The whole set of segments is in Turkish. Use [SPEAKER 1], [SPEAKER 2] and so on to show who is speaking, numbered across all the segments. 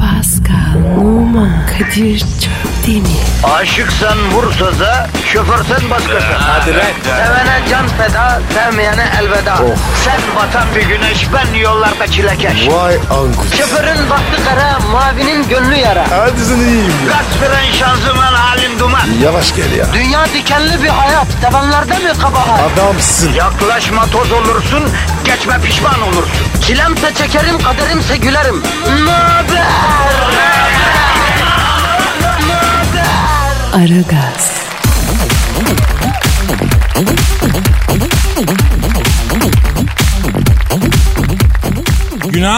[SPEAKER 1] Pascal, Oman, Kadir çok değil mi?
[SPEAKER 2] Aşıksan vursa da şoförsen başkasın.
[SPEAKER 3] Hadi lan.
[SPEAKER 2] Sevene can feda, sevmeyene elveda. Sen batan bir güneş, ben yollarda çilekeş.
[SPEAKER 3] Vay anku.
[SPEAKER 2] Şoförün baktı kara, mavinin gönlü yara.
[SPEAKER 3] Hadi sen iyiyim ya.
[SPEAKER 2] Kasperen şanzıman halin duman.
[SPEAKER 3] Yavaş gel ya.
[SPEAKER 2] Dünya dikenli bir hayat, sevenlerde mi kabahar?
[SPEAKER 3] Adamsın.
[SPEAKER 2] Yaklaşma toz olursun, geçme pişman olursun. Çilemse çekerim, kaderimse gülerim. Möber!
[SPEAKER 1] Aragaz,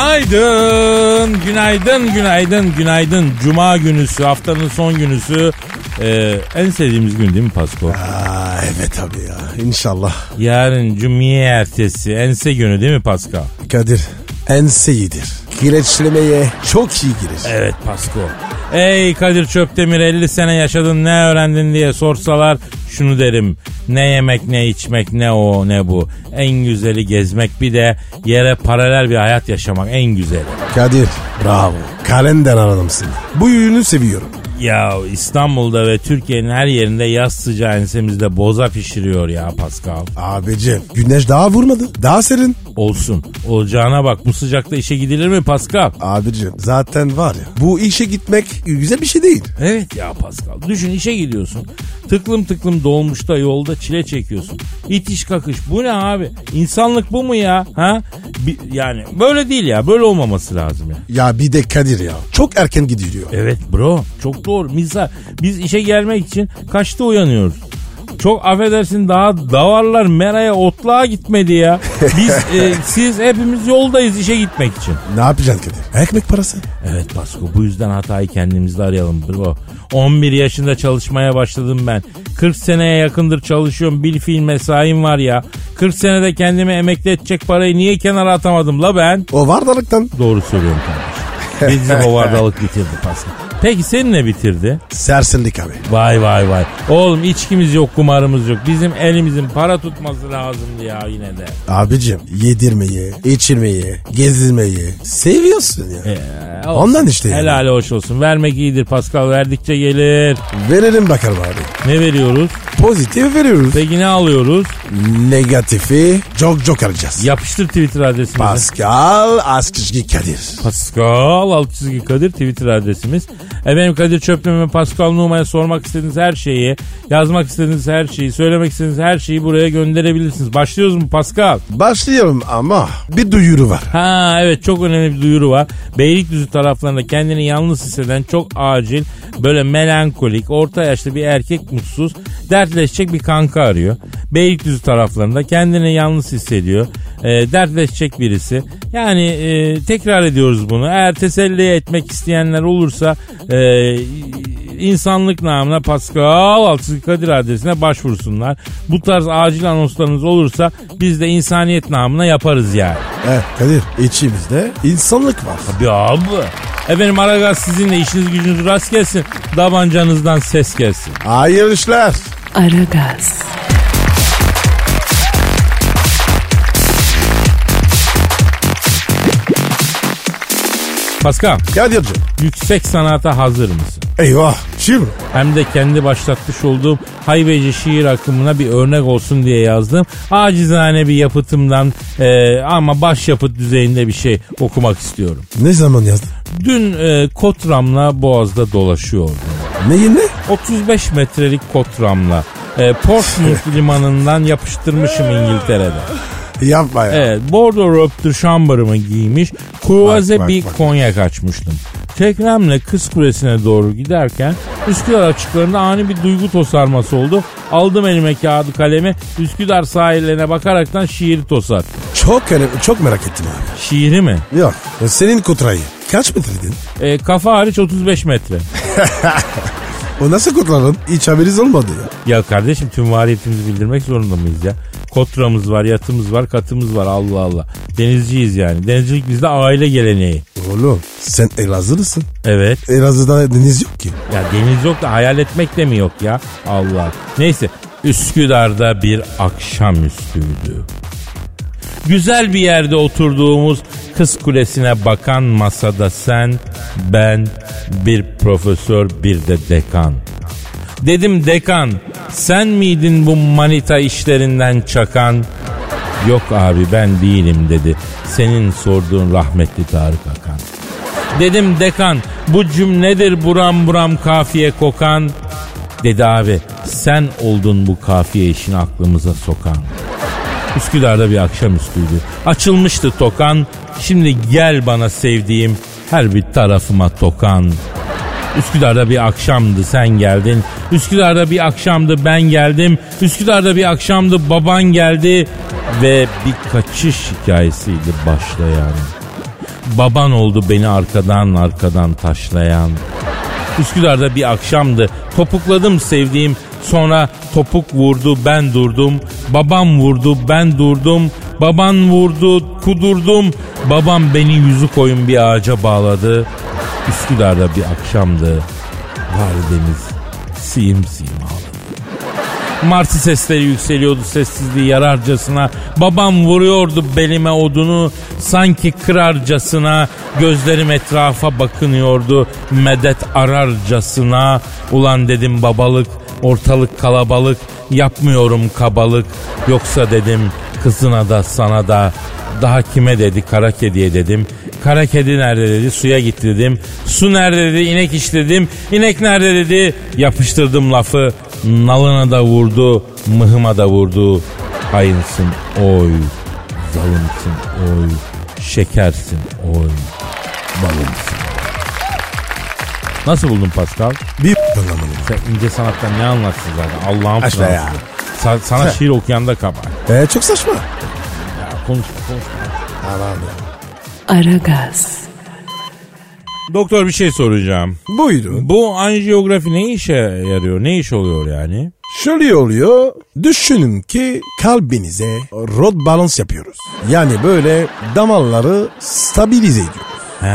[SPEAKER 4] Günaydın, günaydın, günaydın, günaydın. Cuma günüsü, haftanın son günüsü. Ee, en sevdiğimiz gün değil mi Pasko?
[SPEAKER 3] Aa, evet abi ya. İnşallah.
[SPEAKER 4] Yarın cumartesi, ense günü değil mi Pasko?
[SPEAKER 3] Kadir ense iyidir. Kireçlemeye çok iyi girer.
[SPEAKER 4] Evet Pasko. Ey Kadir Çöptemir 50 sene yaşadın ne öğrendin diye sorsalar şunu derim. Ne yemek ne içmek ne o ne bu. En güzeli gezmek bir de yere paralel bir hayat yaşamak en güzeli.
[SPEAKER 3] Kadir bravo. Kalender adamsın. Bu yünü seviyorum.
[SPEAKER 4] Ya İstanbul'da ve Türkiye'nin her yerinde yaz sıcağı ensemizde boza pişiriyor ya Pascal.
[SPEAKER 3] Abicim güneş daha vurmadı. Daha serin.
[SPEAKER 4] Olsun. Olacağına bak bu sıcakta işe gidilir mi Pascal?
[SPEAKER 3] Abicim zaten var ya bu işe gitmek güzel bir şey değil.
[SPEAKER 4] Evet ya Pascal. Düşün işe gidiyorsun. Tıklım tıklım dolmuşta yolda çile çekiyorsun. İtiş kakış. Bu ne abi? İnsanlık bu mu ya? Ha? Bi- yani böyle değil ya. Böyle olmaması lazım ya.
[SPEAKER 3] Ya bir de Kadir ya çok erken gidiyor.
[SPEAKER 4] Evet bro. Çok doğru. Misal biz işe gelmek için kaçta uyanıyoruz? Çok affedersin daha davarlar meraya otluğa gitmedi ya. Biz e, siz hepimiz yoldayız işe gitmek için.
[SPEAKER 3] Ne yapacaksın Kadir? Ekmek parası.
[SPEAKER 4] Evet Basko bu yüzden hatayı kendimizde arayalım bro. 11 yaşında çalışmaya başladım ben. 40 seneye yakındır çalışıyorum. Bil fiil mesaim var ya. 40 senede kendimi emekli edecek parayı niye kenara atamadım la ben?
[SPEAKER 3] O vardalıktan
[SPEAKER 4] Doğru söylüyorum kardeşim. Bizim ovardalık bitirdi Pascal. Peki senin ne bitirdi?
[SPEAKER 3] serserilik abi.
[SPEAKER 4] Vay vay vay. Oğlum içkimiz yok kumarımız yok. Bizim elimizin para tutması lazımdı ya yine de.
[SPEAKER 3] Abicim yedirmeyi, içirmeyi, gezdirmeyi seviyorsun ya.
[SPEAKER 4] Ee,
[SPEAKER 3] Ondan işte yani.
[SPEAKER 4] Helal hoş olsun. Vermek iyidir Pascal. Verdikçe gelir.
[SPEAKER 3] Verelim bakalım abi.
[SPEAKER 4] Ne veriyoruz?
[SPEAKER 3] Pozitif veriyoruz.
[SPEAKER 4] Peki ne alıyoruz?
[SPEAKER 3] Negatifi çok çok arayacağız.
[SPEAKER 4] Yapıştır Twitter adresimizi.
[SPEAKER 3] Pascal Askışki Kadir.
[SPEAKER 4] Pascal alt çizgi Kadir Twitter adresimiz. Efendim Kadir Çöptemir ve Pascal Numa'ya sormak istediğiniz her şeyi, yazmak istediğiniz her şeyi, söylemek istediğiniz her şeyi buraya gönderebilirsiniz. Başlıyoruz mu Pascal?
[SPEAKER 3] Başlıyorum ama bir duyuru var.
[SPEAKER 4] Ha evet çok önemli bir duyuru var. Beylikdüzü taraflarında kendini yalnız hisseden çok acil, böyle melankolik, orta yaşlı bir erkek mutsuz, dertleşecek bir kanka arıyor. Beylikdüzü taraflarında kendini yalnız hissediyor. E, dertleşecek birisi. Yani e, tekrar ediyoruz bunu. Eğer teselli etmek isteyenler olursa e, insanlık namına Pascal Altçı Kadir adresine başvursunlar. Bu tarz acil anonslarınız olursa biz de insaniyet namına yaparız yani.
[SPEAKER 3] Evet Kadir içimizde insanlık var.
[SPEAKER 4] Tabii abi. Efendim Aragaz sizinle işiniz gücünüz rast gelsin. Davancanızdan ses gelsin.
[SPEAKER 3] Hayırlı işler.
[SPEAKER 1] Aragaz,
[SPEAKER 4] Pascal
[SPEAKER 3] Kadir'cim.
[SPEAKER 4] yüksek sanata hazır mısın?
[SPEAKER 3] Eyvah. Şimdi
[SPEAKER 4] Hem de kendi başlatmış olduğum haybeci şiir akımına bir örnek olsun diye yazdım. Acizane bir yapıtımdan e, ama başyapıt düzeyinde bir şey okumak istiyorum.
[SPEAKER 3] ne zaman yazdın?
[SPEAKER 4] Dün e, Kotram'la Boğaz'da dolaşıyordum.
[SPEAKER 3] Neyin ne?
[SPEAKER 4] 35 metrelik Kotram'la. E, Portsmouth limanından yapıştırmışım İngiltere'de.
[SPEAKER 3] Yapma ya.
[SPEAKER 4] Evet, Bordeaux Robe de Chamber'ımı giymiş.
[SPEAKER 3] Bak,
[SPEAKER 4] Kruvaze
[SPEAKER 3] bak,
[SPEAKER 4] bir
[SPEAKER 3] bak.
[SPEAKER 4] konyak açmıştım. Tekremle Kız Kulesi'ne doğru giderken Üsküdar açıklarında ani bir duygu tosarması oldu. Aldım elime kağıdı kalemi Üsküdar sahillerine bakaraktan şiiri tosattım.
[SPEAKER 3] Çok önemli, çok merak ettim abi.
[SPEAKER 4] Şiiri mi?
[SPEAKER 3] Yok. Senin kutrayı kaç metredin?
[SPEAKER 4] E, kafa hariç 35 metre.
[SPEAKER 3] O nasıl kutlanın? Hiç haberiniz olmadı ya.
[SPEAKER 4] Ya kardeşim tüm variyetimizi bildirmek zorunda mıyız ya? Kotramız var, yatımız var, katımız var Allah Allah. Denizciyiz yani. Denizcilik bizde aile geleneği.
[SPEAKER 3] Oğlum sen Elazığlısın.
[SPEAKER 4] Evet.
[SPEAKER 3] Elazığ'da deniz yok ki.
[SPEAKER 4] Ya deniz yok da hayal etmek de mi yok ya? Allah. Neyse Üsküdar'da bir akşam üstüydü. Güzel bir yerde oturduğumuz Kız kulesine bakan masada sen, ben, bir profesör, bir de dekan. Dedim dekan, sen miydin bu manita işlerinden çakan? Yok abi ben değilim dedi. Senin sorduğun rahmetli Tarık Akan. Dedim dekan bu cümledir buram buram kafiye kokan. Dedi abi sen oldun bu kafiye işini aklımıza sokan. Üsküdar'da bir akşamüstüydü. Açılmıştı tokan. Şimdi gel bana sevdiğim her bir tarafıma tokan. Üsküdar'da bir akşamdı sen geldin. Üsküdar'da bir akşamdı ben geldim. Üsküdar'da bir akşamdı baban geldi. Ve bir kaçış hikayesiydi başlayan. Baban oldu beni arkadan arkadan taşlayan. Üsküdar'da bir akşamdı. Topukladım sevdiğim. Sonra topuk vurdu ben durdum. Babam vurdu ben durdum. Baban vurdu kudurdum. Babam beni yüzü koyun bir ağaca bağladı. Üsküdar'da bir akşamdı. Validemiz simsiyim ağladı. Martı sesleri yükseliyordu sessizliği yararcasına. Babam vuruyordu belime odunu sanki kırarcasına. Gözlerim etrafa bakınıyordu medet ararcasına. Ulan dedim babalık ortalık kalabalık yapmıyorum kabalık. Yoksa dedim kızına da sana da daha kime dedi kara kediye dedim. Kara kedi nerede dedi suya git dedim. Su nerede dedi inek iç dedim. İnek nerede dedi yapıştırdım lafı. Nalına da vurdu mıhıma da vurdu. Hayınsın oy zalımsın oy şekersin oy balımsın. Nasıl buldun Pascal?
[SPEAKER 3] Bir anlamadım.
[SPEAKER 4] Sen ince sanattan ne anlatsın zaten Allah'ın
[SPEAKER 3] Aşk be ya.
[SPEAKER 4] Fransızı. Sa- sana şiir okuyan da kabar.
[SPEAKER 3] Ee, çok saçma.
[SPEAKER 4] Ya konuşma konuşma.
[SPEAKER 3] Aman be.
[SPEAKER 1] Aragaz,
[SPEAKER 4] Doktor bir şey soracağım.
[SPEAKER 3] Buyurun.
[SPEAKER 4] Bu anjiyografi ne işe yarıyor? Ne iş oluyor yani?
[SPEAKER 3] Şöyle oluyor. Düşünün ki kalbinize rod balans yapıyoruz. Yani böyle damarları stabilize ediyoruz.
[SPEAKER 4] He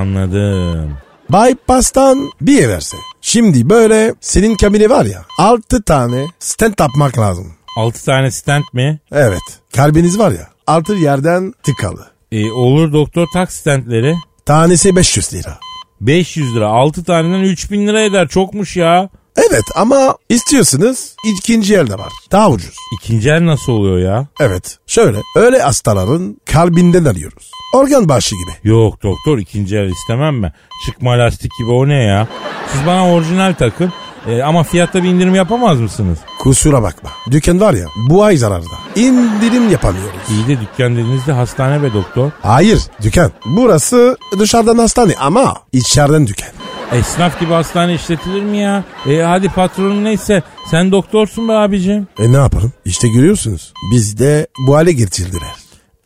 [SPEAKER 4] anladım.
[SPEAKER 3] Bypass'tan bir everse. Şimdi böyle senin kabine var ya 6 tane stent yapmak lazım.
[SPEAKER 4] 6 tane stent mi?
[SPEAKER 3] Evet. Kalbiniz var ya altı yerden tıkalı.
[SPEAKER 4] E, olur doktor tak stentleri.
[SPEAKER 3] Tanesi 500 lira.
[SPEAKER 4] 500 lira. 6 taneden 3000 lira eder. Çokmuş ya.
[SPEAKER 3] Evet ama istiyorsunuz ikinci elde var. Daha ucuz.
[SPEAKER 4] İkinci el nasıl oluyor ya?
[SPEAKER 3] Evet şöyle öyle hastaların kalbinden alıyoruz. Organ bağışı gibi.
[SPEAKER 4] Yok doktor ikinci el istemem ben. Çıkma lastik gibi o ne ya? Siz bana orijinal takın. E, ama fiyatta bir indirim yapamaz mısınız?
[SPEAKER 3] Kusura bakma. Dükkan var ya bu ay zararda. İndirim yapamıyoruz.
[SPEAKER 4] İyi de dükkan dediğinizde hastane be doktor.
[SPEAKER 3] Hayır dükkan. Burası dışarıdan hastane ama içeriden dükkan.
[SPEAKER 4] Esnaf gibi hastane işletilir mi ya? E hadi patronun neyse sen doktorsun be abicim.
[SPEAKER 3] E ne yaparım? İşte görüyorsunuz. Biz de bu hale getirdiler.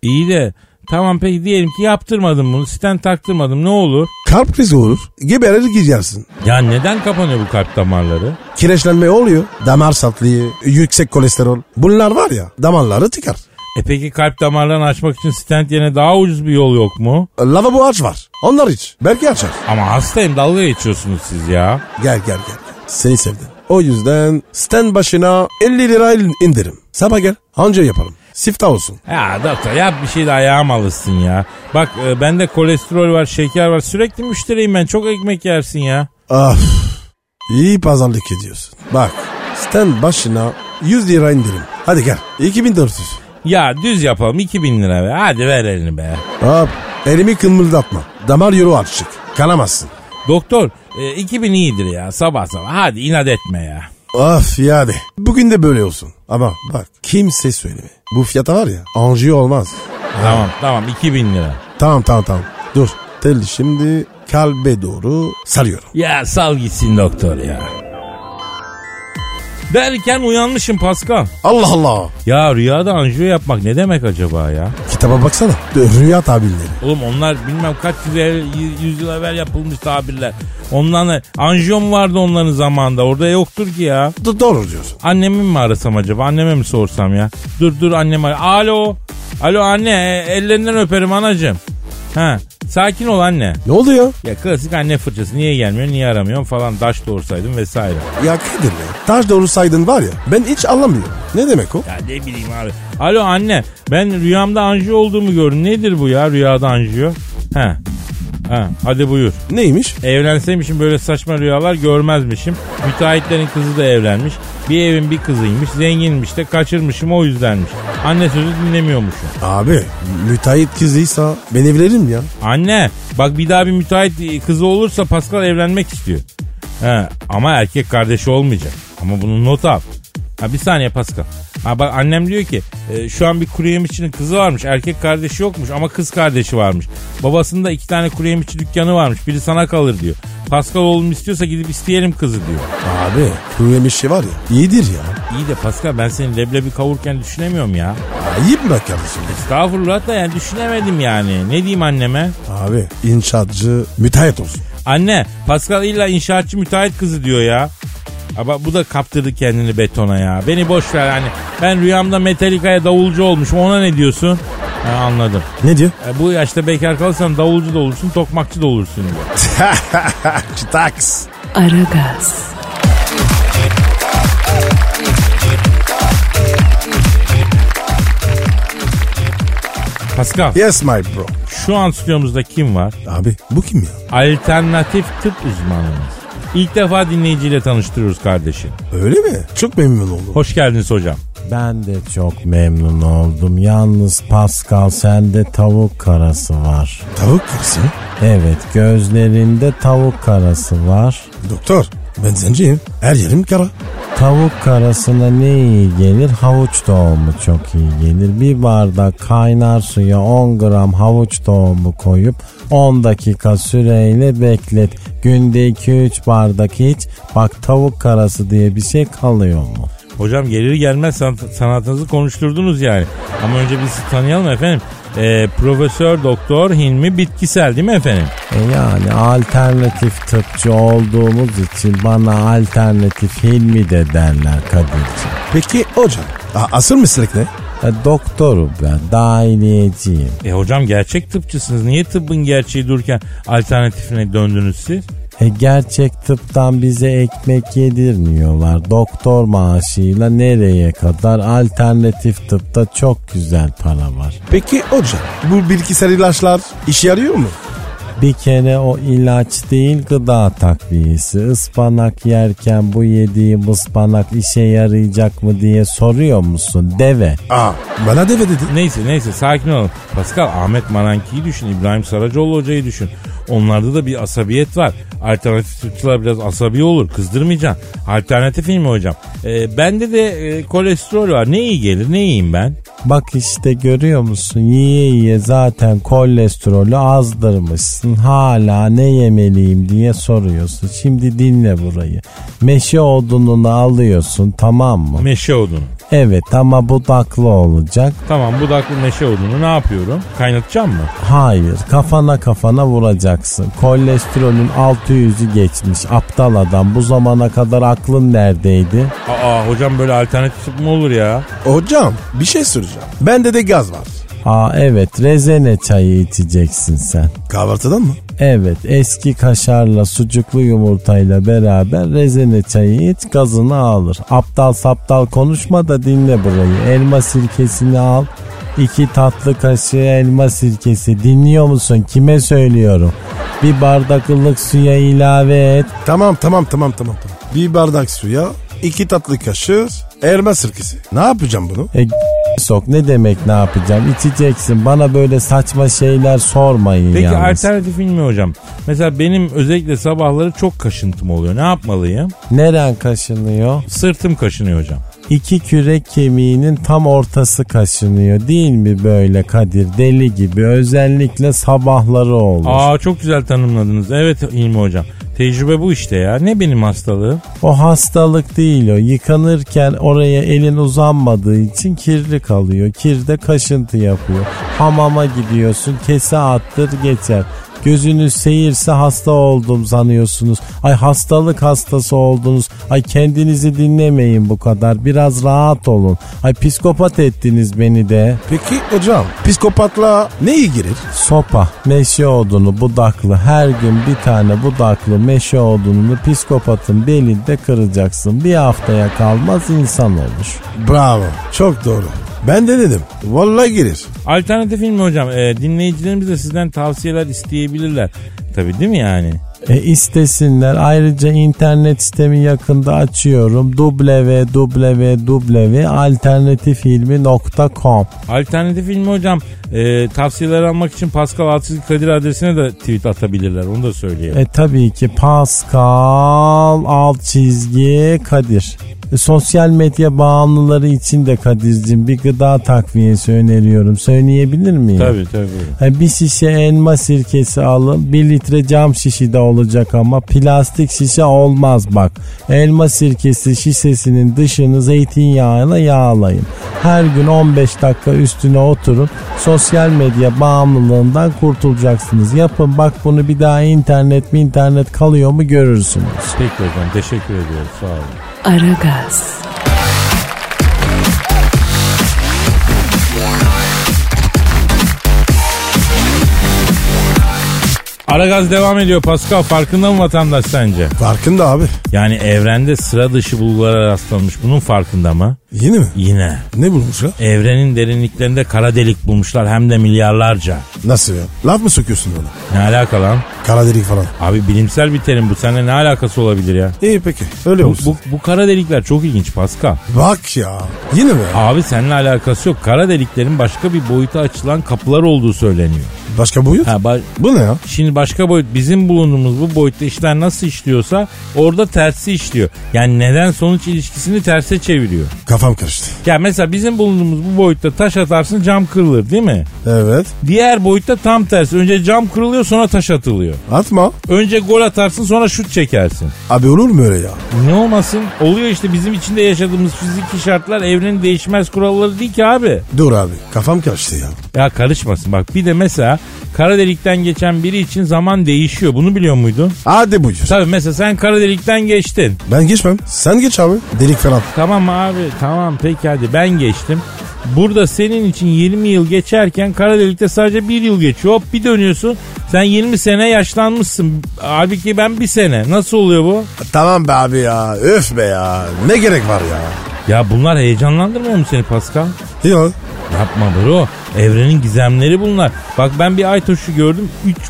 [SPEAKER 4] İyi de tamam peki diyelim ki yaptırmadım bunu stent taktırmadım ne olur?
[SPEAKER 3] Kalp krizi olur. Geberir girersin.
[SPEAKER 4] Ya neden kapanıyor bu kalp damarları?
[SPEAKER 3] Kireçlenme oluyor. Damar satlığı, yüksek kolesterol. Bunlar var ya damarları tıkar.
[SPEAKER 4] E peki kalp damarlarını açmak için stent yerine daha ucuz bir yol yok mu?
[SPEAKER 3] Lavabo aç var. Onlar iç. Belki açar.
[SPEAKER 4] Ama hastayım dalga geçiyorsunuz siz ya.
[SPEAKER 3] Gel gel gel. Seni sevdim. O yüzden stand başına 50 lira indirim. Sabah gel. Anca yapalım. Sifta olsun.
[SPEAKER 4] Ya doktor yap bir şey de ayağım alışsın ya. Bak e, bende kolesterol var, şeker var. Sürekli müşteriyim ben. Çok ekmek yersin ya.
[SPEAKER 3] Ah. İyi pazarlık ediyorsun. Bak. Stand başına 100 lira indirim. Hadi gel. 2400.
[SPEAKER 4] Ya düz yapalım 2000 lira be. Hadi ver elini be.
[SPEAKER 3] Hop. Elimi kımıldatma. Damar yolu açık. Kanamazsın.
[SPEAKER 4] Doktor e, 2000 iyidir ya sabah sabah. Hadi inat etme ya.
[SPEAKER 3] Of yani. Bugün de böyle olsun. Ama bak kimse söyleme. Bu fiyata var ya anjiyo olmaz.
[SPEAKER 4] Tamam tamam 2000 lira.
[SPEAKER 3] Tamam tamam tamam. Dur. Telli şimdi kalbe doğru sarıyorum.
[SPEAKER 4] Ya sal gitsin doktor ya. Derken uyanmışım Pascal.
[SPEAKER 3] Allah Allah.
[SPEAKER 4] Ya rüyada anjiyo yapmak ne demek acaba ya?
[SPEAKER 3] Kitaba baksana. Rüya tabirleri.
[SPEAKER 4] Oğlum onlar bilmem kaç yüz, el- y- yüzyıl evvel yapılmış tabirler. Onların anjiyo mu vardı onların zamanında? Orada yoktur ki ya.
[SPEAKER 3] Do- doğru diyorsun.
[SPEAKER 4] Annemi mi arasam acaba? Anneme mi sorsam ya? Dur dur anneme. Alo. Alo anne e, ellerinden öperim anacığım. Ha Sakin ol anne.
[SPEAKER 3] Ne oldu ya?
[SPEAKER 4] Ya klasik anne fırçası niye gelmiyor niye aramıyorsun falan daş doğursaydım vesaire.
[SPEAKER 3] Ya Kadir ya. Taş doğru saydın var ya. Ben hiç anlamıyorum. Ne demek o?
[SPEAKER 4] Ya ne bileyim abi. Alo anne ben rüyamda anjiyo olduğumu gördüm. Nedir bu ya rüyada anjiyo? He. Ha, hadi buyur.
[SPEAKER 3] Neymiş?
[SPEAKER 4] Evlenseymişim böyle saçma rüyalar görmezmişim. Müteahhitlerin kızı da evlenmiş. Bir evin bir kızıymış. Zenginmiş de kaçırmışım o yüzdenmiş. Anne sözü dinlemiyormuşum.
[SPEAKER 3] Abi müteahhit kızıysa ben evlenirim ya.
[SPEAKER 4] Anne bak bir daha bir müteahhit e, kızı olursa Pascal evlenmek istiyor. He, ama erkek kardeşi olmayacak. Ama bunu not al. Ha bir saniye Pascal. Ha bak annem diyor ki e, şu an bir kuru yemişçinin kızı varmış. Erkek kardeşi yokmuş ama kız kardeşi varmış. Babasının da iki tane kuru yemişçi dükkanı varmış. Biri sana kalır diyor. Pascal oğlum istiyorsa gidip isteyelim kızı diyor.
[SPEAKER 3] Abi kuru yemişçi var ya iyidir ya.
[SPEAKER 4] İyi de Pascal ben senin leblebi kavurken düşünemiyorum ya.
[SPEAKER 3] Ayıp mı kardeşim?
[SPEAKER 4] Estağfurullah da yani düşünemedim yani. Ne diyeyim anneme?
[SPEAKER 3] Abi inşaatçı müteahhit olsun.
[SPEAKER 4] Anne Pascal illa inşaatçı müteahhit kızı diyor ya. Ama bu da kaptırdı kendini betona ya. Beni boş ver hani. Ben rüyamda Metallica'ya davulcu olmuşum. Ona ne diyorsun? Ha, anladım.
[SPEAKER 3] Ne diyor?
[SPEAKER 4] E, bu yaşta bekar kalırsan davulcu da olursun, tokmakçı da olursun diyor.
[SPEAKER 3] Çıtaks.
[SPEAKER 1] Aragaz,
[SPEAKER 4] Pascal,
[SPEAKER 3] Yes my bro.
[SPEAKER 4] şu an stüdyomuzda kim var?
[SPEAKER 3] Abi bu kim ya?
[SPEAKER 4] Alternatif tıp uzmanımız. İlk defa dinleyiciyle tanıştırıyoruz kardeşim.
[SPEAKER 3] Öyle mi? Çok memnun oldum.
[SPEAKER 4] Hoş geldiniz hocam.
[SPEAKER 5] Ben de çok memnun oldum. Yalnız Pascal sende tavuk karası var.
[SPEAKER 3] Tavuk karısı.
[SPEAKER 5] Evet gözlerinde tavuk karası var.
[SPEAKER 3] Doktor ben zenciyim. Her yerim kara.
[SPEAKER 5] Tavuk karasına ne iyi gelir? Havuç tohumu çok iyi gelir. Bir bardak kaynar suya 10 gram havuç tohumu koyup 10 dakika süreyle beklet. Günde 2-3 bardak iç. Bak tavuk karası diye bir şey kalıyor mu?
[SPEAKER 4] Hocam gelir gelmez sanat- sanatınızı konuşturdunuz yani. Ama önce biz sizi tanıyalım efendim. Ee, Profesör Doktor Hilmi Bitkisel değil mi efendim?
[SPEAKER 5] E yani alternatif tıpçı olduğumuz için bana alternatif Hilmi de derler Kadir'ciğim.
[SPEAKER 3] Peki hocam a- asıl meslek ne?
[SPEAKER 5] E, doktorum ben, dahiliyeciyim.
[SPEAKER 4] E hocam gerçek tıpçısınız. Niye tıbbın gerçeği dururken alternatifine döndünüz siz?
[SPEAKER 5] E, gerçek tıptan bize ekmek yedirmiyorlar. Doktor maaşıyla nereye kadar alternatif tıpta çok güzel para var.
[SPEAKER 3] Peki hocam bu bilgisayar ilaçlar işe yarıyor mu?
[SPEAKER 5] Bir kere o ilaç değil gıda takviyesi. Ispanak yerken bu yediğim ıspanak işe yarayacak mı diye soruyor musun? Deve.
[SPEAKER 3] Aa bana deve dedi.
[SPEAKER 4] Neyse neyse sakin olun. Pascal Ahmet Maranki'yi düşün. İbrahim Saracoğlu hocayı düşün. Onlarda da bir asabiyet var. Alternatif tıpçılar biraz asabi olur. Kızdırmayacaksın. Alternatif mi hocam? E, bende de e, kolesterol var. Ne iyi gelir? Ne yiyeyim ben?
[SPEAKER 5] Bak işte görüyor musun yiye yiye zaten kolesterolü azdırmışsın hala ne yemeliyim diye soruyorsun. Şimdi dinle burayı. Meşe odununu alıyorsun tamam mı?
[SPEAKER 4] Meşe odunu.
[SPEAKER 5] Evet ama budaklı olacak.
[SPEAKER 4] Tamam budaklı meşe odunu şey ne yapıyorum? Kaynatacağım mı?
[SPEAKER 5] Hayır kafana kafana vuracaksın. Kolesterolün 600'ü geçmiş aptal adam bu zamana kadar aklın neredeydi?
[SPEAKER 4] Aa hocam böyle alternatif tıp mı olur ya?
[SPEAKER 3] Hocam bir şey soracağım. Bende de gaz var.
[SPEAKER 5] Aa evet rezene çayı içeceksin sen.
[SPEAKER 3] Kahvaltıdan mı?
[SPEAKER 5] Evet eski kaşarla sucuklu yumurtayla beraber rezene çayı iç gazını alır. Aptal saptal konuşma da dinle burayı. Elma sirkesini al. iki tatlı kaşığı elma sirkesi dinliyor musun? Kime söylüyorum? Bir bardak ılık suya ilave et.
[SPEAKER 3] Tamam tamam tamam tamam. tamam. Bir bardak suya iki tatlı kaşığı elma sirkesi. Ne yapacağım bunu?
[SPEAKER 5] E, sok ne demek ne yapacağım? İçeceksin bana böyle saçma şeyler sormayın
[SPEAKER 4] Peki
[SPEAKER 5] yalnız.
[SPEAKER 4] alternatif mi hocam? Mesela benim özellikle sabahları çok kaşıntım oluyor. Ne yapmalıyım?
[SPEAKER 5] Neren kaşınıyor?
[SPEAKER 4] Sırtım kaşınıyor hocam.
[SPEAKER 5] İki kürek kemiğinin tam ortası kaşınıyor değil mi böyle Kadir deli gibi özellikle sabahları olur.
[SPEAKER 4] Aa çok güzel tanımladınız. Evet İlmi hocam. Tecrübe bu işte ya. Ne benim hastalığım?
[SPEAKER 5] O hastalık değil o yıkanırken oraya elin uzanmadığı için kirli kalıyor kirde kaşıntı yapıyor. Hamama gidiyorsun kese attır geçer Gözünüz seyirse hasta oldum sanıyorsunuz. Ay hastalık hastası oldunuz. Ay kendinizi dinlemeyin bu kadar. Biraz rahat olun. Ay psikopat ettiniz beni de.
[SPEAKER 3] Peki hocam psikopatla ne iyi girir?
[SPEAKER 5] Sopa, meşe odunu, budaklı. Her gün bir tane budaklı meşe odununu psikopatın belinde kıracaksın. Bir haftaya kalmaz insan olur.
[SPEAKER 3] Bravo. Çok doğru. Ben de dedim. Vallahi girir.
[SPEAKER 4] Alternatif mi hocam? Ee, dinleyicilerimiz de sizden tavsiyeler isteyebilirler. Tabii değil mi yani?
[SPEAKER 5] E, istesinler. Ayrıca internet sitemi yakında açıyorum. www.alternatifilmi.com
[SPEAKER 4] Alternatif film hocam e, tavsiyeler almak için Pascal Altçizgi Kadir adresine de tweet atabilirler. Onu da söyleyelim.
[SPEAKER 5] E tabii ki Pascal alt çizgi Kadir. E, sosyal medya bağımlıları için de Kadir'cim bir gıda takviyesi öneriyorum. Söyleyebilir miyim?
[SPEAKER 4] Tabii tabii.
[SPEAKER 5] E, bir şişe elma sirkesi alın. Bir litre cam şişi de olacak ama plastik şişe olmaz bak. Elma sirkesi şişesinin dışını zeytinyağıyla yağlayın. Her gün 15 dakika üstüne oturun. Sosyal medya bağımlılığından kurtulacaksınız. Yapın bak bunu bir daha internet mi internet kalıyor mu görürsünüz.
[SPEAKER 4] Peki hocam teşekkür ediyoruz. Sağ olun.
[SPEAKER 1] Aragaz,
[SPEAKER 4] Aragaz devam ediyor Pascal. Farkında mı vatandaş sence?
[SPEAKER 3] Farkında abi.
[SPEAKER 4] Yani evrende sıra dışı bulgulara rastlanmış. Bunun farkında mı?
[SPEAKER 3] Yeni mi?
[SPEAKER 4] Yine.
[SPEAKER 3] Ne bulmuşlar?
[SPEAKER 4] Evrenin derinliklerinde kara delik bulmuşlar hem de milyarlarca.
[SPEAKER 3] Nasıl ya? Laf mı sokuyorsun bana?
[SPEAKER 4] Ne alaka lan?
[SPEAKER 3] Kara delik falan.
[SPEAKER 4] Abi bilimsel bir terim bu. Seninle ne alakası olabilir ya?
[SPEAKER 3] İyi peki. Öyle
[SPEAKER 4] Bu,
[SPEAKER 3] olsun.
[SPEAKER 4] bu, bu kara delikler çok ilginç Pascal.
[SPEAKER 3] Bak ya. Yine mi?
[SPEAKER 4] Abi seninle alakası yok. Kara deliklerin başka bir boyuta açılan kapılar olduğu söyleniyor.
[SPEAKER 3] Başka boyut?
[SPEAKER 4] Ha, ba-
[SPEAKER 3] Bu ne ya?
[SPEAKER 4] Şimdi başka boyut bizim bulunduğumuz bu boyutta işler nasıl işliyorsa orada tersi işliyor. Yani neden sonuç ilişkisini terse çeviriyor.
[SPEAKER 3] Kafam karıştı.
[SPEAKER 4] Ya mesela bizim bulunduğumuz bu boyutta taş atarsın cam kırılır değil mi?
[SPEAKER 3] Evet.
[SPEAKER 4] Diğer boyutta tam tersi. Önce cam kırılıyor sonra taş atılıyor.
[SPEAKER 3] Atma.
[SPEAKER 4] Önce gol atarsın sonra şut çekersin.
[SPEAKER 3] Abi olur mu öyle ya?
[SPEAKER 4] Ne olmasın? Oluyor işte bizim içinde yaşadığımız fiziki şartlar evrenin değişmez kuralları değil ki abi.
[SPEAKER 3] Dur abi. Kafam karıştı ya.
[SPEAKER 4] Ya karışmasın bak bir de mesela kara delikten geçen biri için zaman değişiyor. Bunu biliyor muydun?
[SPEAKER 3] Hadi buyur.
[SPEAKER 4] Tabii mesela sen kara delikten geçtin.
[SPEAKER 3] Ben geçmem. Sen geç abi. Delik falan.
[SPEAKER 4] Tamam abi tamam peki hadi ben geçtim. Burada senin için 20 yıl geçerken kara delikte sadece 1 yıl geçiyor. Hop bir dönüyorsun. Sen 20 sene yaşlanmışsın. Halbuki ben bir sene. Nasıl oluyor bu?
[SPEAKER 3] Tamam be abi ya. Öf be ya. Ne gerek var ya?
[SPEAKER 4] Ya bunlar heyecanlandırmıyor mu seni Pascal?
[SPEAKER 3] Ya.
[SPEAKER 4] Yapma bro. Evrenin gizemleri bunlar. Bak ben bir ay taşı gördüm.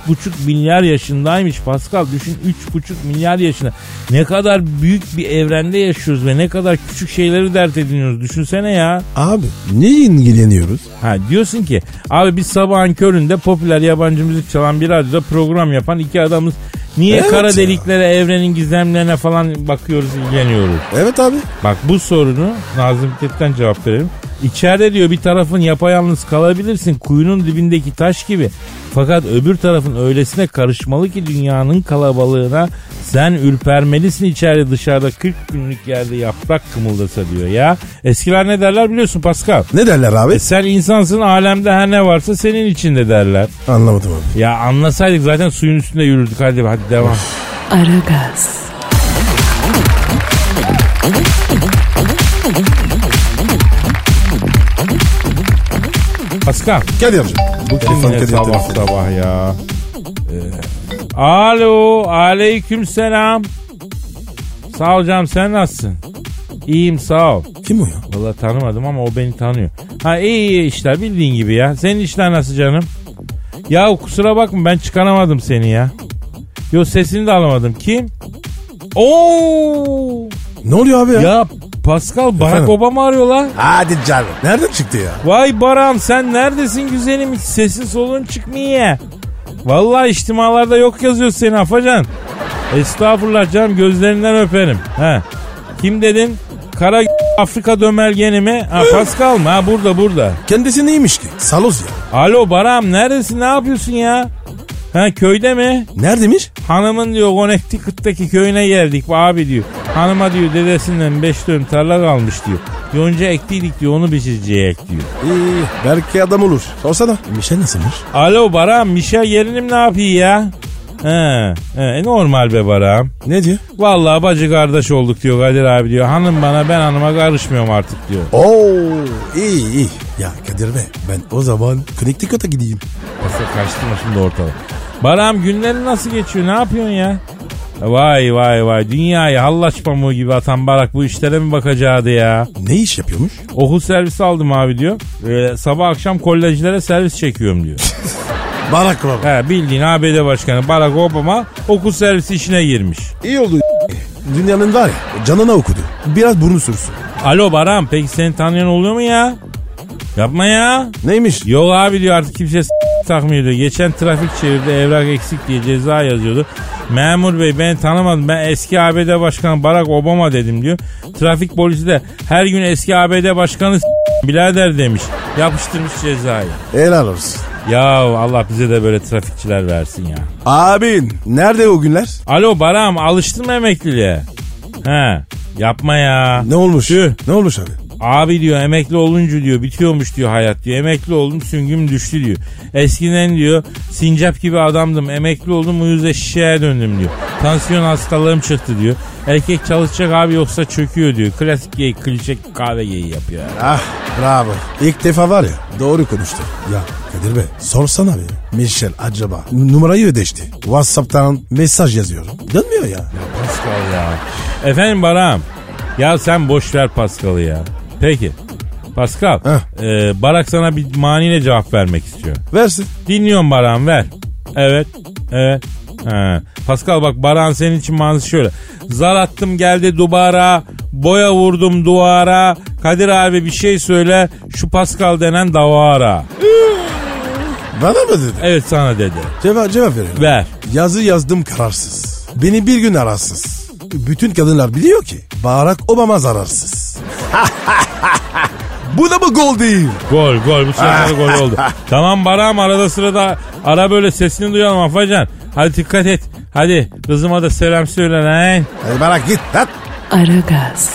[SPEAKER 4] 3,5 milyar yaşındaymış Pascal. Düşün 3,5 milyar yaşında. Ne kadar büyük bir evrende yaşıyoruz ve ne kadar küçük şeyleri dert ediniyoruz. Düşünsene ya.
[SPEAKER 3] Abi niye ilgileniyoruz?
[SPEAKER 4] Ha diyorsun ki abi biz sabahın köründe popüler yabancı müzik çalan bir radyoda program yapan iki adamız niye
[SPEAKER 3] Evet
[SPEAKER 4] kara
[SPEAKER 3] ya.
[SPEAKER 4] deliklere, evrenin gizemlerine falan bakıyoruz, ilgileniyoruz?
[SPEAKER 3] Evet abi.
[SPEAKER 4] Bak bu sorunu Nazım Hikmet'ten cevap verelim. İçeride diyor bir tarafın yapayalnız kalabilirsin kuyunun dibindeki taş gibi. Fakat öbür tarafın öylesine karışmalı ki dünyanın kalabalığına sen ürpermelisin içeride dışarıda 40 günlük yerde yaprak kımıldasa diyor ya. Eskiler ne derler biliyorsun Pascal.
[SPEAKER 3] Ne derler abi?
[SPEAKER 4] E sen insansın alemde her ne varsa senin içinde derler.
[SPEAKER 3] Anlamadım abi.
[SPEAKER 4] Ya anlasaydık zaten suyun üstünde yürürdük hadi hadi devam.
[SPEAKER 1] Aragaz,
[SPEAKER 4] Pascal
[SPEAKER 3] Kadir.
[SPEAKER 4] bu kim
[SPEAKER 3] Telefon
[SPEAKER 4] yine
[SPEAKER 3] Kadir,
[SPEAKER 4] sabah
[SPEAKER 3] telefon.
[SPEAKER 4] sabah ya. Ee, alo aleyküm selam. Sağ ol canım sen nasılsın? İyiyim sağ ol.
[SPEAKER 3] Kim o ya?
[SPEAKER 4] Valla tanımadım ama o beni tanıyor. Ha iyi iyi işler bildiğin gibi ya. Senin işler nasıl canım? Ya kusura bakma ben çıkaramadım seni ya. Yo sesini de alamadım. Kim? Oo!
[SPEAKER 3] Ne oluyor abi ya?
[SPEAKER 4] Ya Pascal Barack
[SPEAKER 3] Efendim?
[SPEAKER 4] Obama arıyor lan.
[SPEAKER 3] Hadi canım. Nereden çıktı ya?
[SPEAKER 4] Vay Baran sen neredesin güzelim hiç sesin soluğun çıkmıyor. Vallahi içtimalarda yok yazıyor seni Afacan. Estağfurullah canım gözlerinden öperim. He. Kim dedin? Kara Afrika dömergeni mi? Ha Pascal mı? Ha burada burada.
[SPEAKER 3] Kendisi neymiş ki? Saloz ya.
[SPEAKER 4] Alo Baram neredesin ne yapıyorsun ya? Ha köyde mi?
[SPEAKER 3] Neredemiş?
[SPEAKER 4] Hanımın diyor Connecticut'taki köyüne geldik abi diyor. Hanıma diyor dedesinden 5 dönüm tarla kalmış diyor. Yonca ektiydik diyor onu biçecek diyor.
[SPEAKER 3] İyi, belki adam olur. Sorsana. Mişel Şey nasılmış?
[SPEAKER 4] Alo Baram Mişa gelinim ne yapıyor ya? He, he, e, normal be Baram.
[SPEAKER 3] Ne diyor?
[SPEAKER 4] Vallahi bacı kardeş olduk diyor Kadir abi diyor. Hanım bana ben hanıma karışmıyorum artık diyor.
[SPEAKER 3] Oo iyi iyi. Ya Kadir Bey ben o zaman Connecticut'a gideyim.
[SPEAKER 4] Nasıl kaçtırma şimdi ortalık. Baram günlerin nasıl geçiyor ne yapıyorsun ya? Vay vay vay dünyayı hallaç pamuğu gibi atan Barak bu işlere mi bakacaktı ya?
[SPEAKER 3] Ne iş yapıyormuş?
[SPEAKER 4] Okul servisi aldım abi diyor. Ee, sabah akşam kolejlere servis çekiyorum diyor.
[SPEAKER 3] Barak baba.
[SPEAKER 4] He bildiğin ABD Başkanı Barack Obama okul servisi işine girmiş.
[SPEAKER 3] İyi oldu. Dünyanın var ya canına okudu. Biraz burnu sürsün.
[SPEAKER 4] Alo Baram peki seni tanıyan oluyor mu ya? Yapma ya.
[SPEAKER 3] Neymiş?
[SPEAKER 4] Yok abi diyor artık kimse s- takmıyor diyor. Geçen trafik çevirdi evrak eksik diye ceza yazıyordu. Memur bey ben tanımadım ben eski ABD başkanı Barack Obama dedim diyor. Trafik polisi de her gün eski ABD başkanı s- birader demiş. Yapıştırmış cezayı.
[SPEAKER 3] Helal olsun.
[SPEAKER 4] Ya Allah bize de böyle trafikçiler versin ya.
[SPEAKER 3] Abin nerede o günler?
[SPEAKER 4] Alo Baram alıştın mı emekliliğe? He yapma ya.
[SPEAKER 3] Ne olmuş?
[SPEAKER 4] Tüh.
[SPEAKER 3] Ne olmuş abi?
[SPEAKER 4] Abi diyor emekli olunca diyor bitiyormuş diyor hayat diyor. Emekli oldum süngüm düştü diyor. Eskiden diyor sincap gibi adamdım. Emekli oldum uyuz eşeğe döndüm diyor. Tansiyon hastalığım çıktı diyor. Erkek çalışacak abi yoksa çöküyor diyor. Klasik geyik klişe kahve geyiği yapıyor.
[SPEAKER 3] Ah bravo. İlk defa var ya doğru konuştu. Ya Kadir Bey sorsana bir. Michel acaba numarayı ödeşti. Whatsapp'tan mesaj yazıyorum. Dönmüyor ya.
[SPEAKER 4] Pascal ya. Efendim Barak'ım. Ya sen boş ver Pascal'ı ya. Peki. Pascal.
[SPEAKER 3] Heh.
[SPEAKER 4] e, Barak sana bir maniyle cevap vermek istiyor.
[SPEAKER 3] Versin.
[SPEAKER 4] Dinliyorum Baran ver. Evet. Evet. He. Pascal bak Baran senin için manzı şöyle. Zar attım geldi dubara. Boya vurdum duvara. Kadir abi bir şey söyle. Şu Pascal denen davara.
[SPEAKER 3] Bana mı dedi?
[SPEAKER 4] Evet sana dedi.
[SPEAKER 3] Cevap, cevap verin.
[SPEAKER 4] Ver.
[SPEAKER 3] Yazı yazdım kararsız. Beni bir gün ararsız. Bütün kadınlar biliyor ki Barack Obama zararsız. Bu da mı gol değil?
[SPEAKER 4] Gol gol bu sefer de gol oldu. Tamam Baran arada sırada ara böyle sesini duyalım Afacan. Hadi dikkat et. Hadi kızıma da selam söyle lan.
[SPEAKER 3] Hadi Barak git lan.
[SPEAKER 1] Aragaz,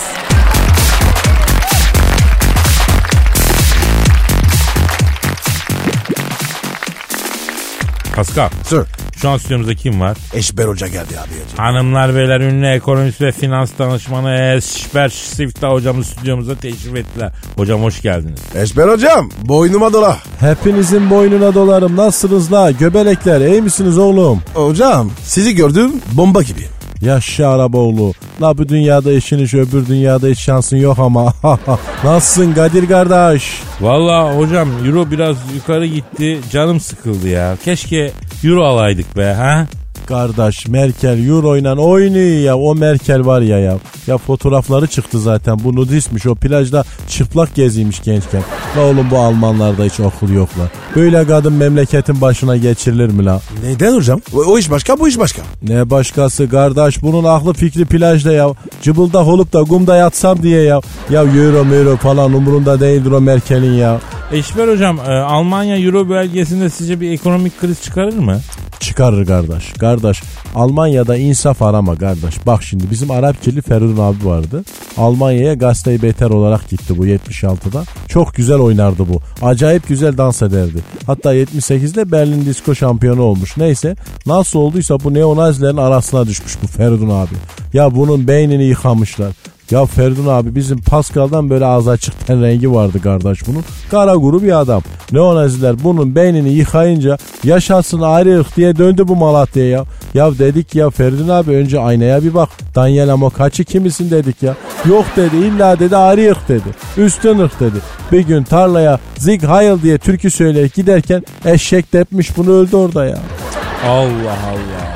[SPEAKER 4] Pascal
[SPEAKER 3] Sir
[SPEAKER 4] şu an stüdyomuzda kim var?
[SPEAKER 3] Eşber Hoca geldi abi.
[SPEAKER 4] Hanımlar beyler ünlü ekonomist ve finans danışmanı Esper Sifta hocamız stüdyomuza teşrif ettiler. Hocam hoş geldiniz.
[SPEAKER 3] Eşber Hocam boynuma dola.
[SPEAKER 5] Hepinizin boynuna dolarım nasılsınız la göbelekler iyi misiniz oğlum?
[SPEAKER 3] Hocam sizi gördüm bomba gibi.
[SPEAKER 5] Yaşa Araboğlu. La bu dünyada işin iş öbür dünyada hiç şansın yok ama. Nasılsın Kadir kardeş?
[SPEAKER 4] Valla hocam euro biraz yukarı gitti canım sıkıldı ya. Keşke euro alaydık be ha.
[SPEAKER 5] Kardeş Merkel Euro ile oynuyor ya o Merkel var ya ya. Ya fotoğrafları çıktı zaten bu nudistmiş o plajda çıplak geziymiş gençken. La oğlum bu Almanlarda hiç okul yok la. Böyle kadın memleketin başına geçirilir mi la?
[SPEAKER 3] Neden hocam? O, o iş başka bu iş başka.
[SPEAKER 5] Ne başkası kardeş bunun aklı fikri plajda ya. Cıbıldak olup da kumda yatsam diye ya. Ya euro euro falan umurunda değildir o Merkel'in ya.
[SPEAKER 4] Eşber hocam e, Almanya euro bölgesinde sizce bir ekonomik kriz çıkarır mı?
[SPEAKER 5] Çıkarır kardeş. Kardeş Almanya'da insaf arama kardeş. Bak şimdi bizim Arap kirli Ferun abi vardı. Almanya'ya gazeteyi beter olarak gitti bu 76'da. Çok güzel oynardı bu. Acayip güzel dans ederdi. Hatta 78'de Berlin disko şampiyonu olmuş. Neyse nasıl olduysa bu neonazilerin arasına düşmüş bu Ferun abi. Ya bunun beynini yıkamışlar. Ya Ferdun abi bizim Pascal'dan böyle ağzı açık ten rengi vardı kardeş bunun. Kara guru bir adam. Neonaziler bunun beynini yıkayınca yaşasın ayrı ırk diye döndü bu Malatya'ya ya. Ya dedik ya Ferdun abi önce aynaya bir bak. Daniel Amokachi kimisin dedik ya. Yok dedi illa dedi ayrı ırk dedi. Üstün ırk dedi. Bir gün tarlaya Zig Heil diye türkü söyleyip giderken eşek tepmiş bunu öldü orada ya.
[SPEAKER 4] Allah Allah.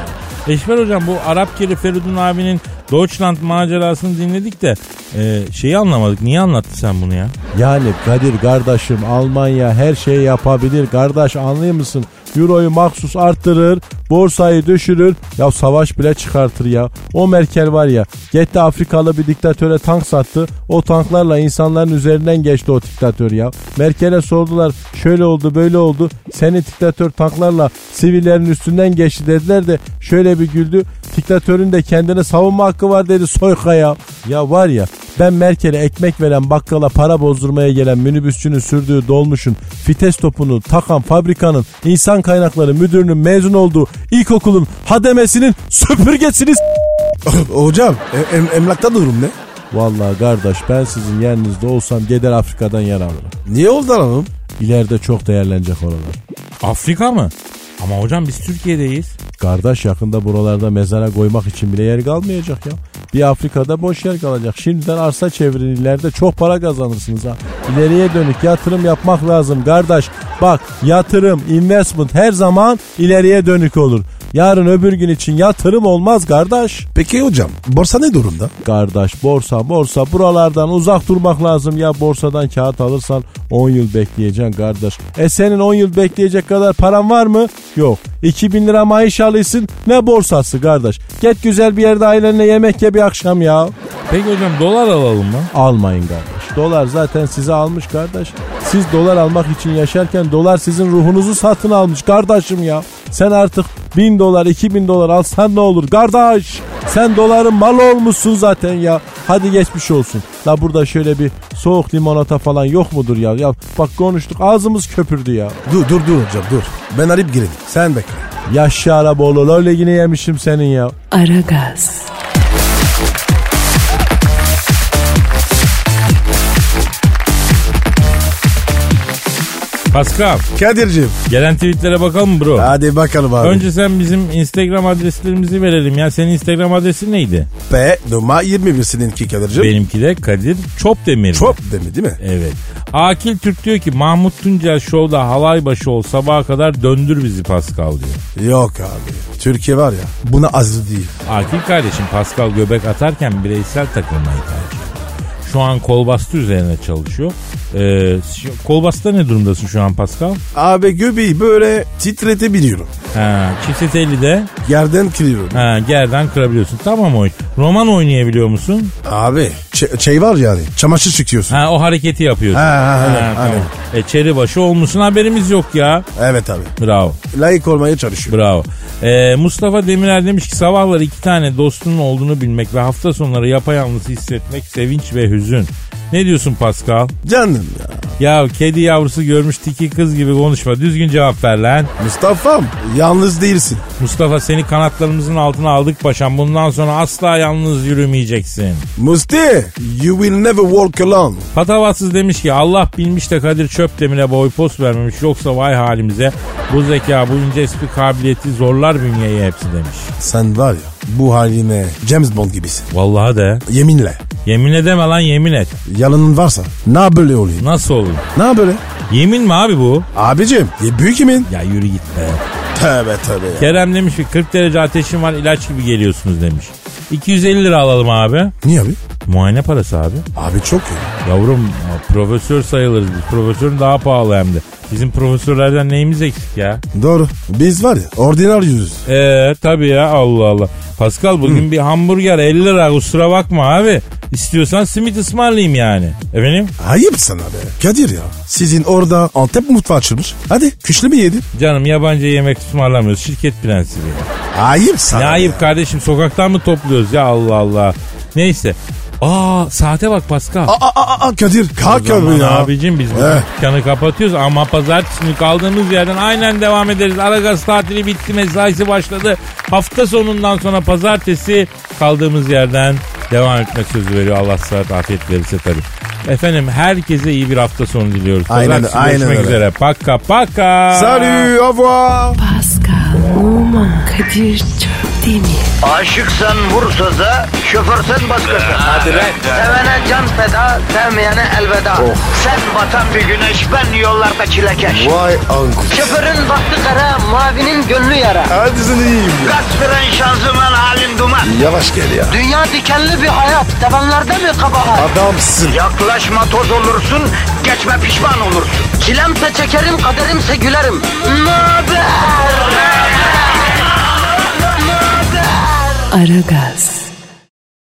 [SPEAKER 4] Eşber hocam bu Arap Keri Feridun abinin Deutschland macerasını dinledik de e, şeyi anlamadık. Niye anlattı sen bunu ya?
[SPEAKER 5] Yani Kadir kardeşim Almanya her şeyi yapabilir. Kardeş anlıyor musun? Euro'yu maksus arttırır. Borsayı düşürür. Ya savaş bile çıkartır ya. O Merkel var ya. Gitti Afrikalı bir diktatöre tank sattı. O tanklarla insanların üzerinden geçti o diktatör ya. Merkel'e sordular. Şöyle oldu böyle oldu. Seni diktatör tanklarla sivillerin üstünden geçti dediler de şöyle bir güldü. Diktatörün de kendine savunma hakkı var dedi soyka ya. Ya var ya ben Merkel'e ekmek veren bakkala para bozdurmaya gelen minibüsçünün sürdüğü dolmuşun fites topunu takan fabrikanın insan kaynakları müdürünün mezun olduğu ilkokulun hademesinin süpürgesini s-
[SPEAKER 3] Hocam e- em- emlakta durum ne?
[SPEAKER 5] Vallahi kardeş ben sizin yerinizde olsam gider Afrika'dan yer alırım.
[SPEAKER 3] Niye oldu hanım?
[SPEAKER 5] İleride çok değerlenecek oralar.
[SPEAKER 4] Afrika mı? Ama hocam biz Türkiye'deyiz.
[SPEAKER 5] Kardeş yakında buralarda mezara koymak için bile yer kalmayacak ya. Bir Afrika'da boş yer kalacak. Şimdiden arsa çevirin ileride çok para kazanırsınız ha. İleriye dönük yatırım yapmak lazım kardeş. Bak yatırım, investment her zaman ileriye dönük olur. Yarın öbür gün için yatırım olmaz kardeş.
[SPEAKER 3] Peki hocam borsa ne durumda?
[SPEAKER 5] Kardeş borsa borsa buralardan uzak durmak lazım ya borsadan kağıt alırsan 10 yıl bekleyeceksin kardeş. E senin 10 yıl bekleyecek kadar paran var mı? Yok. 2000 lira maaş alıyorsun ne borsası kardeş. Git güzel bir yerde ailenle yemek ye bir akşam ya.
[SPEAKER 4] Peki hocam dolar alalım mı?
[SPEAKER 5] Almayın kardeş. Dolar zaten sizi almış kardeş. Siz dolar almak için yaşarken dolar sizin ruhunuzu satın almış kardeşim ya. Sen artık 1000 dolar 2000 dolar alsan ne olur kardeş. Sen doların malı olmuşsun zaten ya. Hadi geçmiş olsun. La burada şöyle bir soğuk limonata falan yok mudur ya? Ya bak konuştuk ağzımız köpürdü ya.
[SPEAKER 3] Dur dur dur hocam dur. Ben arayıp gireyim. Sen bekle.
[SPEAKER 5] Yaşşı Araboğlu öyle yine yemişim senin ya.
[SPEAKER 1] Aragaz,
[SPEAKER 4] Pascal
[SPEAKER 3] Kadir'cim.
[SPEAKER 4] gelen tweetlere bakalım mı bro?
[SPEAKER 3] Hadi bakalım abi.
[SPEAKER 4] Önce sen bizim Instagram adreslerimizi verelim ya. Senin Instagram adresin neydi?
[SPEAKER 3] P numara 21 seninki Kadir'cim.
[SPEAKER 4] Benimki de Kadir Çopdemir.
[SPEAKER 3] Çok demi değil mi?
[SPEAKER 4] Evet. Akil Türk diyor ki Mahmut Tuncel Show'da halay başı ol sabaha kadar döndür bizi Pascal diyor.
[SPEAKER 3] Yok abi. Türkiye var ya buna az değil.
[SPEAKER 4] Akil kardeşim Pascal göbek atarken bireysel takılmayı tercih ediyor. Şu an kolbastı üzerine çalışıyor. Ee, şu- kolbasta ne durumdasın şu an Pascal?
[SPEAKER 3] Abi göbeği böyle titretebiliyorum.
[SPEAKER 4] Ha, çift de
[SPEAKER 3] Yerden kırıyorum.
[SPEAKER 4] ha, gerden kırabiliyorsun. Tamam oyun. Roman oynayabiliyor musun?
[SPEAKER 3] Abi ç- şey var yani çamaşır çıkıyorsun.
[SPEAKER 4] Ha, o hareketi yapıyorsun.
[SPEAKER 3] Ha, ha,
[SPEAKER 4] Ha,
[SPEAKER 3] aynen,
[SPEAKER 4] tamam.
[SPEAKER 3] aynen.
[SPEAKER 4] E, çeri başı olmuşsun haberimiz yok ya.
[SPEAKER 3] Evet abi.
[SPEAKER 4] Bravo.
[SPEAKER 3] Layık olmaya çalışıyorum.
[SPEAKER 4] Bravo. Ee, Mustafa Demirer demiş ki sabahları iki tane dostunun olduğunu bilmek ve hafta sonları yapayalnız hissetmek sevinç ve hüzün. Ne diyorsun Pascal?
[SPEAKER 3] Canım ya.
[SPEAKER 4] Ya kedi yavrusu görmüş tiki kız gibi konuşma. Düzgün cevap ver lan.
[SPEAKER 3] Mustafa'm yalnız değilsin.
[SPEAKER 4] Mustafa seni kanatlarımızın altına aldık paşam. Bundan sonra asla yalnız yürümeyeceksin.
[SPEAKER 3] Musti you will never walk alone.
[SPEAKER 4] Patavatsız demiş ki Allah bilmiş de Kadir Çöpdemir'e boy post vermemiş. Yoksa vay halimize bu zeka bu ince espri kabiliyeti zorlar bünyeyi hepsi demiş.
[SPEAKER 3] Sen var ya bu haline James Bond gibisin.
[SPEAKER 4] Vallahi de
[SPEAKER 3] Yeminle.
[SPEAKER 4] yemin edeme lan yemin et.
[SPEAKER 3] Yalanın varsa ne böyle olayım?
[SPEAKER 4] Nasıl olur?
[SPEAKER 3] Ne böyle?
[SPEAKER 4] Yemin mi abi bu?
[SPEAKER 3] Abicim ya büyük yemin.
[SPEAKER 4] Ya yürü git be.
[SPEAKER 3] Tövbe tövbe ya.
[SPEAKER 4] Kerem demiş ki 40 derece ateşim var ilaç gibi geliyorsunuz demiş. 250 lira alalım abi.
[SPEAKER 3] Niye abi?
[SPEAKER 4] Muayene parası abi.
[SPEAKER 3] Abi çok iyi.
[SPEAKER 4] Yavrum ya profesör sayılırız biz. Profesörün daha pahalı hem de. Bizim profesörlerden neyimiz eksik ya?
[SPEAKER 3] Doğru. Biz var ya ordinar yüzüz.
[SPEAKER 4] Eee tabii ya Allah Allah. Pascal bugün bir hamburger 50 lira kusura bakma abi. İstiyorsan simit ısmarlayayım yani. Efendim?
[SPEAKER 3] Ayıp sana be. Kadir ya. Sizin orada Antep mutfağı açılmış. Hadi küşlü mü yedin?
[SPEAKER 4] Canım yabancı yemek ısmarlamıyoruz. Şirket prensibi.
[SPEAKER 3] Ayıp sana.
[SPEAKER 4] Ne ayıp
[SPEAKER 3] ya.
[SPEAKER 4] kardeşim sokaktan mı topluyoruz ya Allah Allah. Neyse. Aa saate bak Pascal.
[SPEAKER 3] Aa, aa, aa, Kadir kalk
[SPEAKER 4] Aman
[SPEAKER 3] abi ya.
[SPEAKER 4] Abicim biz bu
[SPEAKER 3] Eh.
[SPEAKER 4] dükkanı kapatıyoruz ama pazartesi günü kaldığımız yerden aynen devam ederiz. Aragaz tatili bitti mesaisi başladı. Hafta sonundan sonra pazartesi kaldığımız yerden devam etmek sözü veriyor. Allah sıhhat afiyet verirse tabii. Efendim herkese iyi bir hafta sonu diliyoruz.
[SPEAKER 3] Aynen,
[SPEAKER 4] Pazartesi
[SPEAKER 3] aynen
[SPEAKER 4] görüşmek
[SPEAKER 3] öyle.
[SPEAKER 4] üzere. Paka paka.
[SPEAKER 3] Salut, au revoir.
[SPEAKER 1] Pascal, Oman, Kadir çok değil mi?
[SPEAKER 2] Aşıksan vursa da, şoförsen başkasın. Hadi Sevene can feda, sevmeyene elveda. Sen batan bir güneş, ben yollarda çilekeş.
[SPEAKER 3] Vay anku.
[SPEAKER 2] Şoförün baktı kara, mavinin gönlü yara.
[SPEAKER 3] Hadi sen iyiyim ya.
[SPEAKER 2] Kasperen şanzıman halin duman.
[SPEAKER 3] Yavaş gel ya.
[SPEAKER 2] Dünya dikenli bir hayat, sevenlerde mi kabahar?
[SPEAKER 3] Adamsın.
[SPEAKER 2] Yaklaşma toz olursun, geçme pişman olursun. Çilemse çekerim, kaderimse gülerim. Möber!
[SPEAKER 1] Aragaz.